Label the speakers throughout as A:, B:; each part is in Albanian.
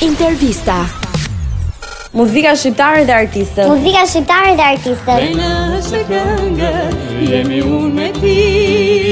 A: Intervista.
B: Muzika shqiptare dhe artistët.
C: Muzika shqiptare dhe artistët.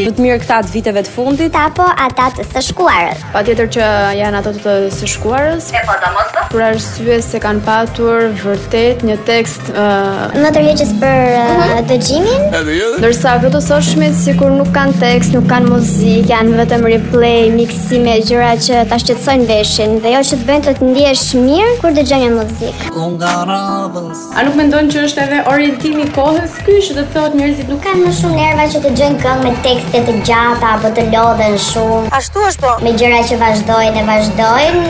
B: Më të mirë këta të viteve të fundit.
C: Apo po ata të së shkuarës.
D: Pa tjetër që janë ato të të së shkuarës E pa të Për arsye se kanë patur vërtet një tekst uh,
C: Më tërheqës për uh, dëgjimin.
D: Ndërsa këto të soshmit sikur nuk kanë tekst, nuk kanë muzikë Janë vetëm replay, miksime, gjëra që ta shqetësojnë veshin
C: Dhe jo që të bëjnë të të ndihesh mirë kur dëgjon një muzikë.
B: A nuk mendon që është edhe orientimi i kohës ky që do të thotë njerëzit nuk
C: Kanë më shumë nerva që të dëgjojnë këngë me tekste të gjata apo të lodhen shumë. Ashtu është po. Me gjëra që vazhdojnë e vazhdojnë.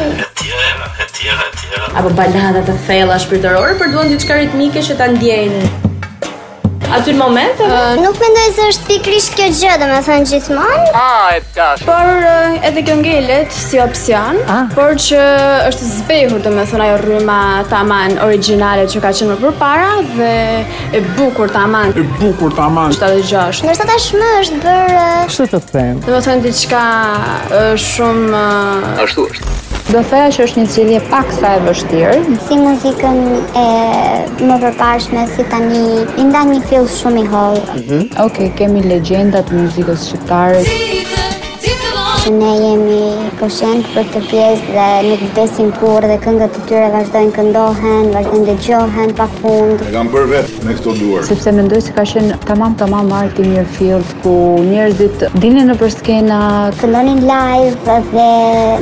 B: apo balada të thella shpirtërore, por duan diçka ritmike që ta ndjejnë. Aty në moment,
C: Nuk mendoj se është pikrisht kjo gjë, domethënë gjithmonë.
D: Por uh, edhe kjo ngelet si opsion Por që është zbehur të me thënë ajo rryma taman originale që ka qenë më përpara Dhe e bukur taman E bukur taman 76
C: Ndërsa tashmë është bërë uh,
D: Do të thënë diçka ë, shumë ë,
E: Do thoya që është një zgjidhje pak sa e vështirë,
C: si muzikën e më përparshme si tani i ndan një fill shumë i hollë.
E: ok, kemi legjendat e muzikës shqiptare.
C: që ne jemi koshent për këtë pjesë dhe nuk vdesin kurrë dhe këngët e tyre vazhdojnë këndohen, vazhdojnë dëgjohen pa fund.
F: E kam bërë vetë me këto duar.
E: sepse mendoj se ka qenë tamam tamam arti Mirfield ku njerëzit dilnin nëpër skena
C: Këndonin live dhe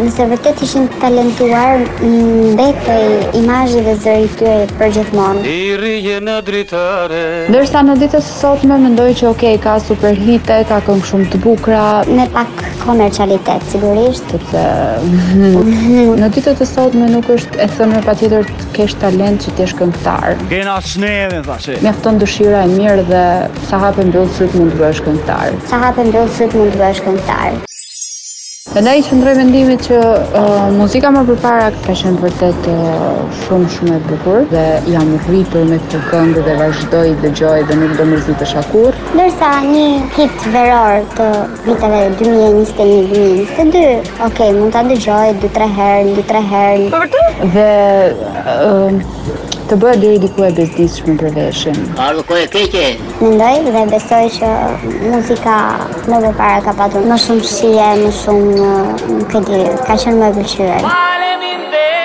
C: nëse vërtet ishin talentuar, mbetej imazhi dhe zëri i tyre për gjithmonë.
E: ndërsa në ditët e sotme mendoj që ok ka super hite, ka këngë shumë të bukura,
C: Me pak komercialitet, sigurisht.
E: sepse në ditët e sotme nuk është e thënë patjetër të kesh talent që të jesh këngëtar.
G: Gena snedhen thashë.
E: Mjafton dëshira e mirë dhe sa hape mbyll syt mund të bësh këngëtar.
C: Sa hapë mbyll syt mund të bësh këngëtar.
E: Prandaj qëndroj vendimit që uh, muzika më përpara ka qenë vërtet uh, shumë shumë e bukur dhe jam rritur me këtë këngë dhe vazhdoj dëgjoj dhe nuk do mërzitesh akur.
C: Ndërsa një hit veror të viteve 2021-2022, ok, mund ta dëgjoj 2-3 herë, 2-3 herë,
E: Dhe uh, të bëhet deri diku e bezdisshme për veshin.
C: Mendoj dhe besoj që muzika më përpara ka patur më shumë shije, më shumë, nuk e di, ka qenë më e pëlqyer.
H: Faleminderit